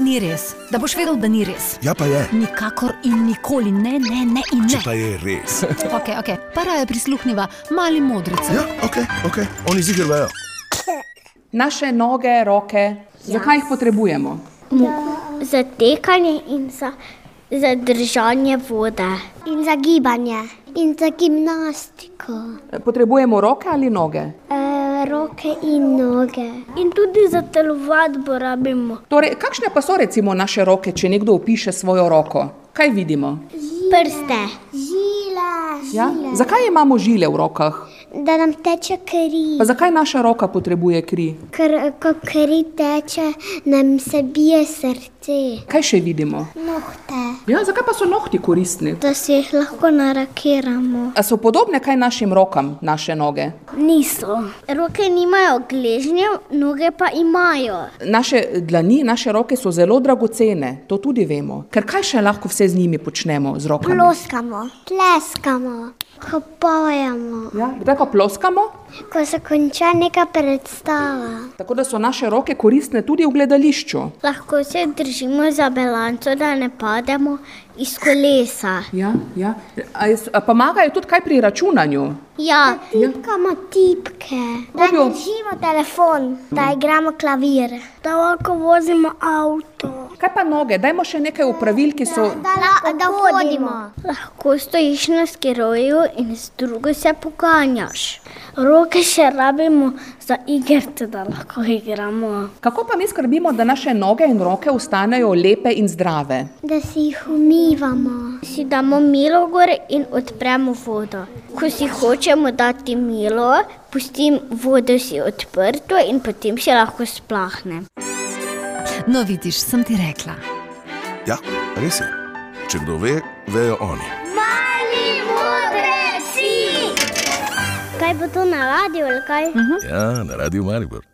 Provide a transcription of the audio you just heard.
ni res, da boš vedel, da ni res. Ja, pa je. Nikakor in nikoli ne, ne, ne in Če ne. pa je res. Okay, okay. Para je prisluhnila mali modrici. Ja, ok, ok, oni zigrajo. Naše noge, roke, zakaj jih potrebujemo? za tekanje in za, za držanje vode. In za gibanje. In za gimnastiko. Potrebujemo roke ali noge? E, roke in noge. In tudi za telovadbo rabimo. Torej, kakšne pa so recimo naše roke, če nekdo opiše svojo roko? Kaj vidimo? Prste. Žile. Ja? Zakaj imamo žile v rokah? Da nam teče kri. Pa zakaj naša roka potrebuje kri? Ker ko kri teče, nam se bije srce. Kaj še vidimo? Nohte. Ja, zakaj pa so nohti koristni? Da se jih lahko narakiramo. A so podobne kaj našim rokam, naše noge? Niso. Roke nimajo gležnjev, noge pa imajo. Naše dlani, naše roke so zelo dragocene, to tudi vemo. Ker kaj še lahko vse z njimi počnemo z rokami? Ploskamo, pleskamo, hopojemo. Ja, kdaj pa ploskamo? Ko se konča neka predstava, Tako da so naše roke koristne tudi v gledališču. lahko se držimo za balanco, da ne pademo iz kolesa. Ja, ja. A jes- a pomagajo tudi kaj pri računanju. Ja, tipkamo tipke, da Objo. držimo telefon, da igramo klavir, da lahko vozimo avto. Kaj pa noge? Dajmo še nekaj upravil, ki so. Da, da vodimo. Lahko stojiš na skiroju in s drugo se poganjaš. Roke še rabimo za igrice, da lahko igramo. Kako pa mi skrbimo, da naše noge in roke ostanejo lepe in zdrave? Da si jih umivamo. Si damo milo gor in odpremo vodo. Ko si hočemo dati milo, pustim vodo si odprto in potem še lahko splahne. No, vidiš, sem ti rekla. Ja, res je. Če kdo ve, vejo oni. Kaj bo to na radiju ali kaj? Mhm. Ja, na radiju Maribor.